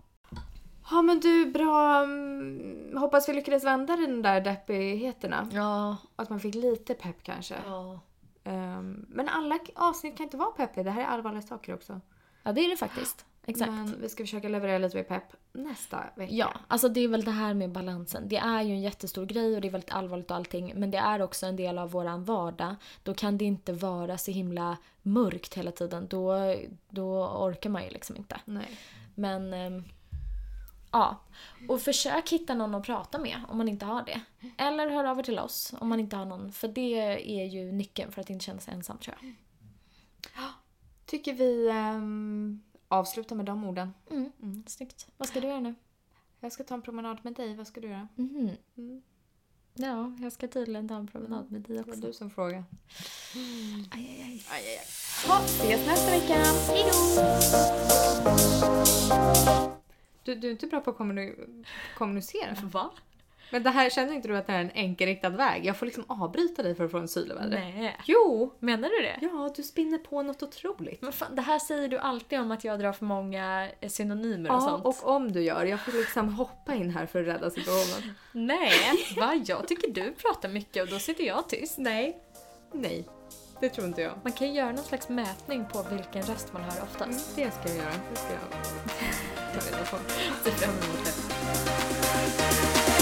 Speaker 1: Ja men du, bra. mm, Hoppas vi lyckades vända den där deppigheterna.
Speaker 2: ja,
Speaker 1: Att man fick lite pepp kanske.
Speaker 2: ja.
Speaker 1: Ehm, men alla avsnitt kan inte vara peppiga. Det här är allvarliga saker också.
Speaker 2: Ja, det är det faktiskt. Exakt.
Speaker 1: Men vi ska försöka leverera lite mer pepp nästa vecka.
Speaker 2: Ja, alltså det är väl det här med balansen. Det är ju en jättestor grej och det är väldigt allvarligt och allting. Men det är också en del av våran vardag. Då kan det inte vara så himla mörkt hela tiden. Då, då orkar man ju liksom inte.
Speaker 1: Nej.
Speaker 2: Men ehm, ja, och försök hitta någon att prata med om man inte har det. Eller hör över till oss om man inte har någon. För det är ju nyckeln för att inte känna sig ensam tror jag.
Speaker 1: Tycker vi ehm, avsluta med de orden.
Speaker 2: Mm.
Speaker 1: Mm.
Speaker 2: Snyggt. Vad ska du göra nu?
Speaker 1: Jag ska ta en promenad med dig. Vad ska du göra?
Speaker 2: Mhm.
Speaker 1: Mm.
Speaker 2: Ja, jag ska tydligen ta en promenad med dig
Speaker 1: Det var
Speaker 2: också.
Speaker 1: du som frågade.
Speaker 2: Aj, aj, aj.
Speaker 1: Aj, aj, aj. Ha, ses nästa vecka!
Speaker 2: Hej då!
Speaker 1: Du, du är inte bra på att kommuni- kommunicera.
Speaker 2: Va?
Speaker 1: Men det här, känner inte du att det här är en enkelriktad väg? Jag får liksom avbryta dig för att få en syleväder.
Speaker 2: Nej.
Speaker 1: Jo!
Speaker 2: Menar du det?
Speaker 1: Ja, du spinner på något otroligt.
Speaker 2: Men fan, det här säger du alltid om att jag drar för många eh, synonymer och
Speaker 1: Ja,
Speaker 2: sånt.
Speaker 1: och om du gör. Jag får liksom hoppa in här för att rädda situationen.
Speaker 2: Nej, va? Jag tycker du pratar mycket och då sitter jag tyst. Nej.
Speaker 1: Nej, det tror inte jag.
Speaker 2: Man kan ju göra någon slags mätning på vilken röst man hör
Speaker 1: Mm,
Speaker 2: oftast.
Speaker 1: Det ska jag göra. Det ska jag ta reda på.
Speaker 2: Ser fram emot det.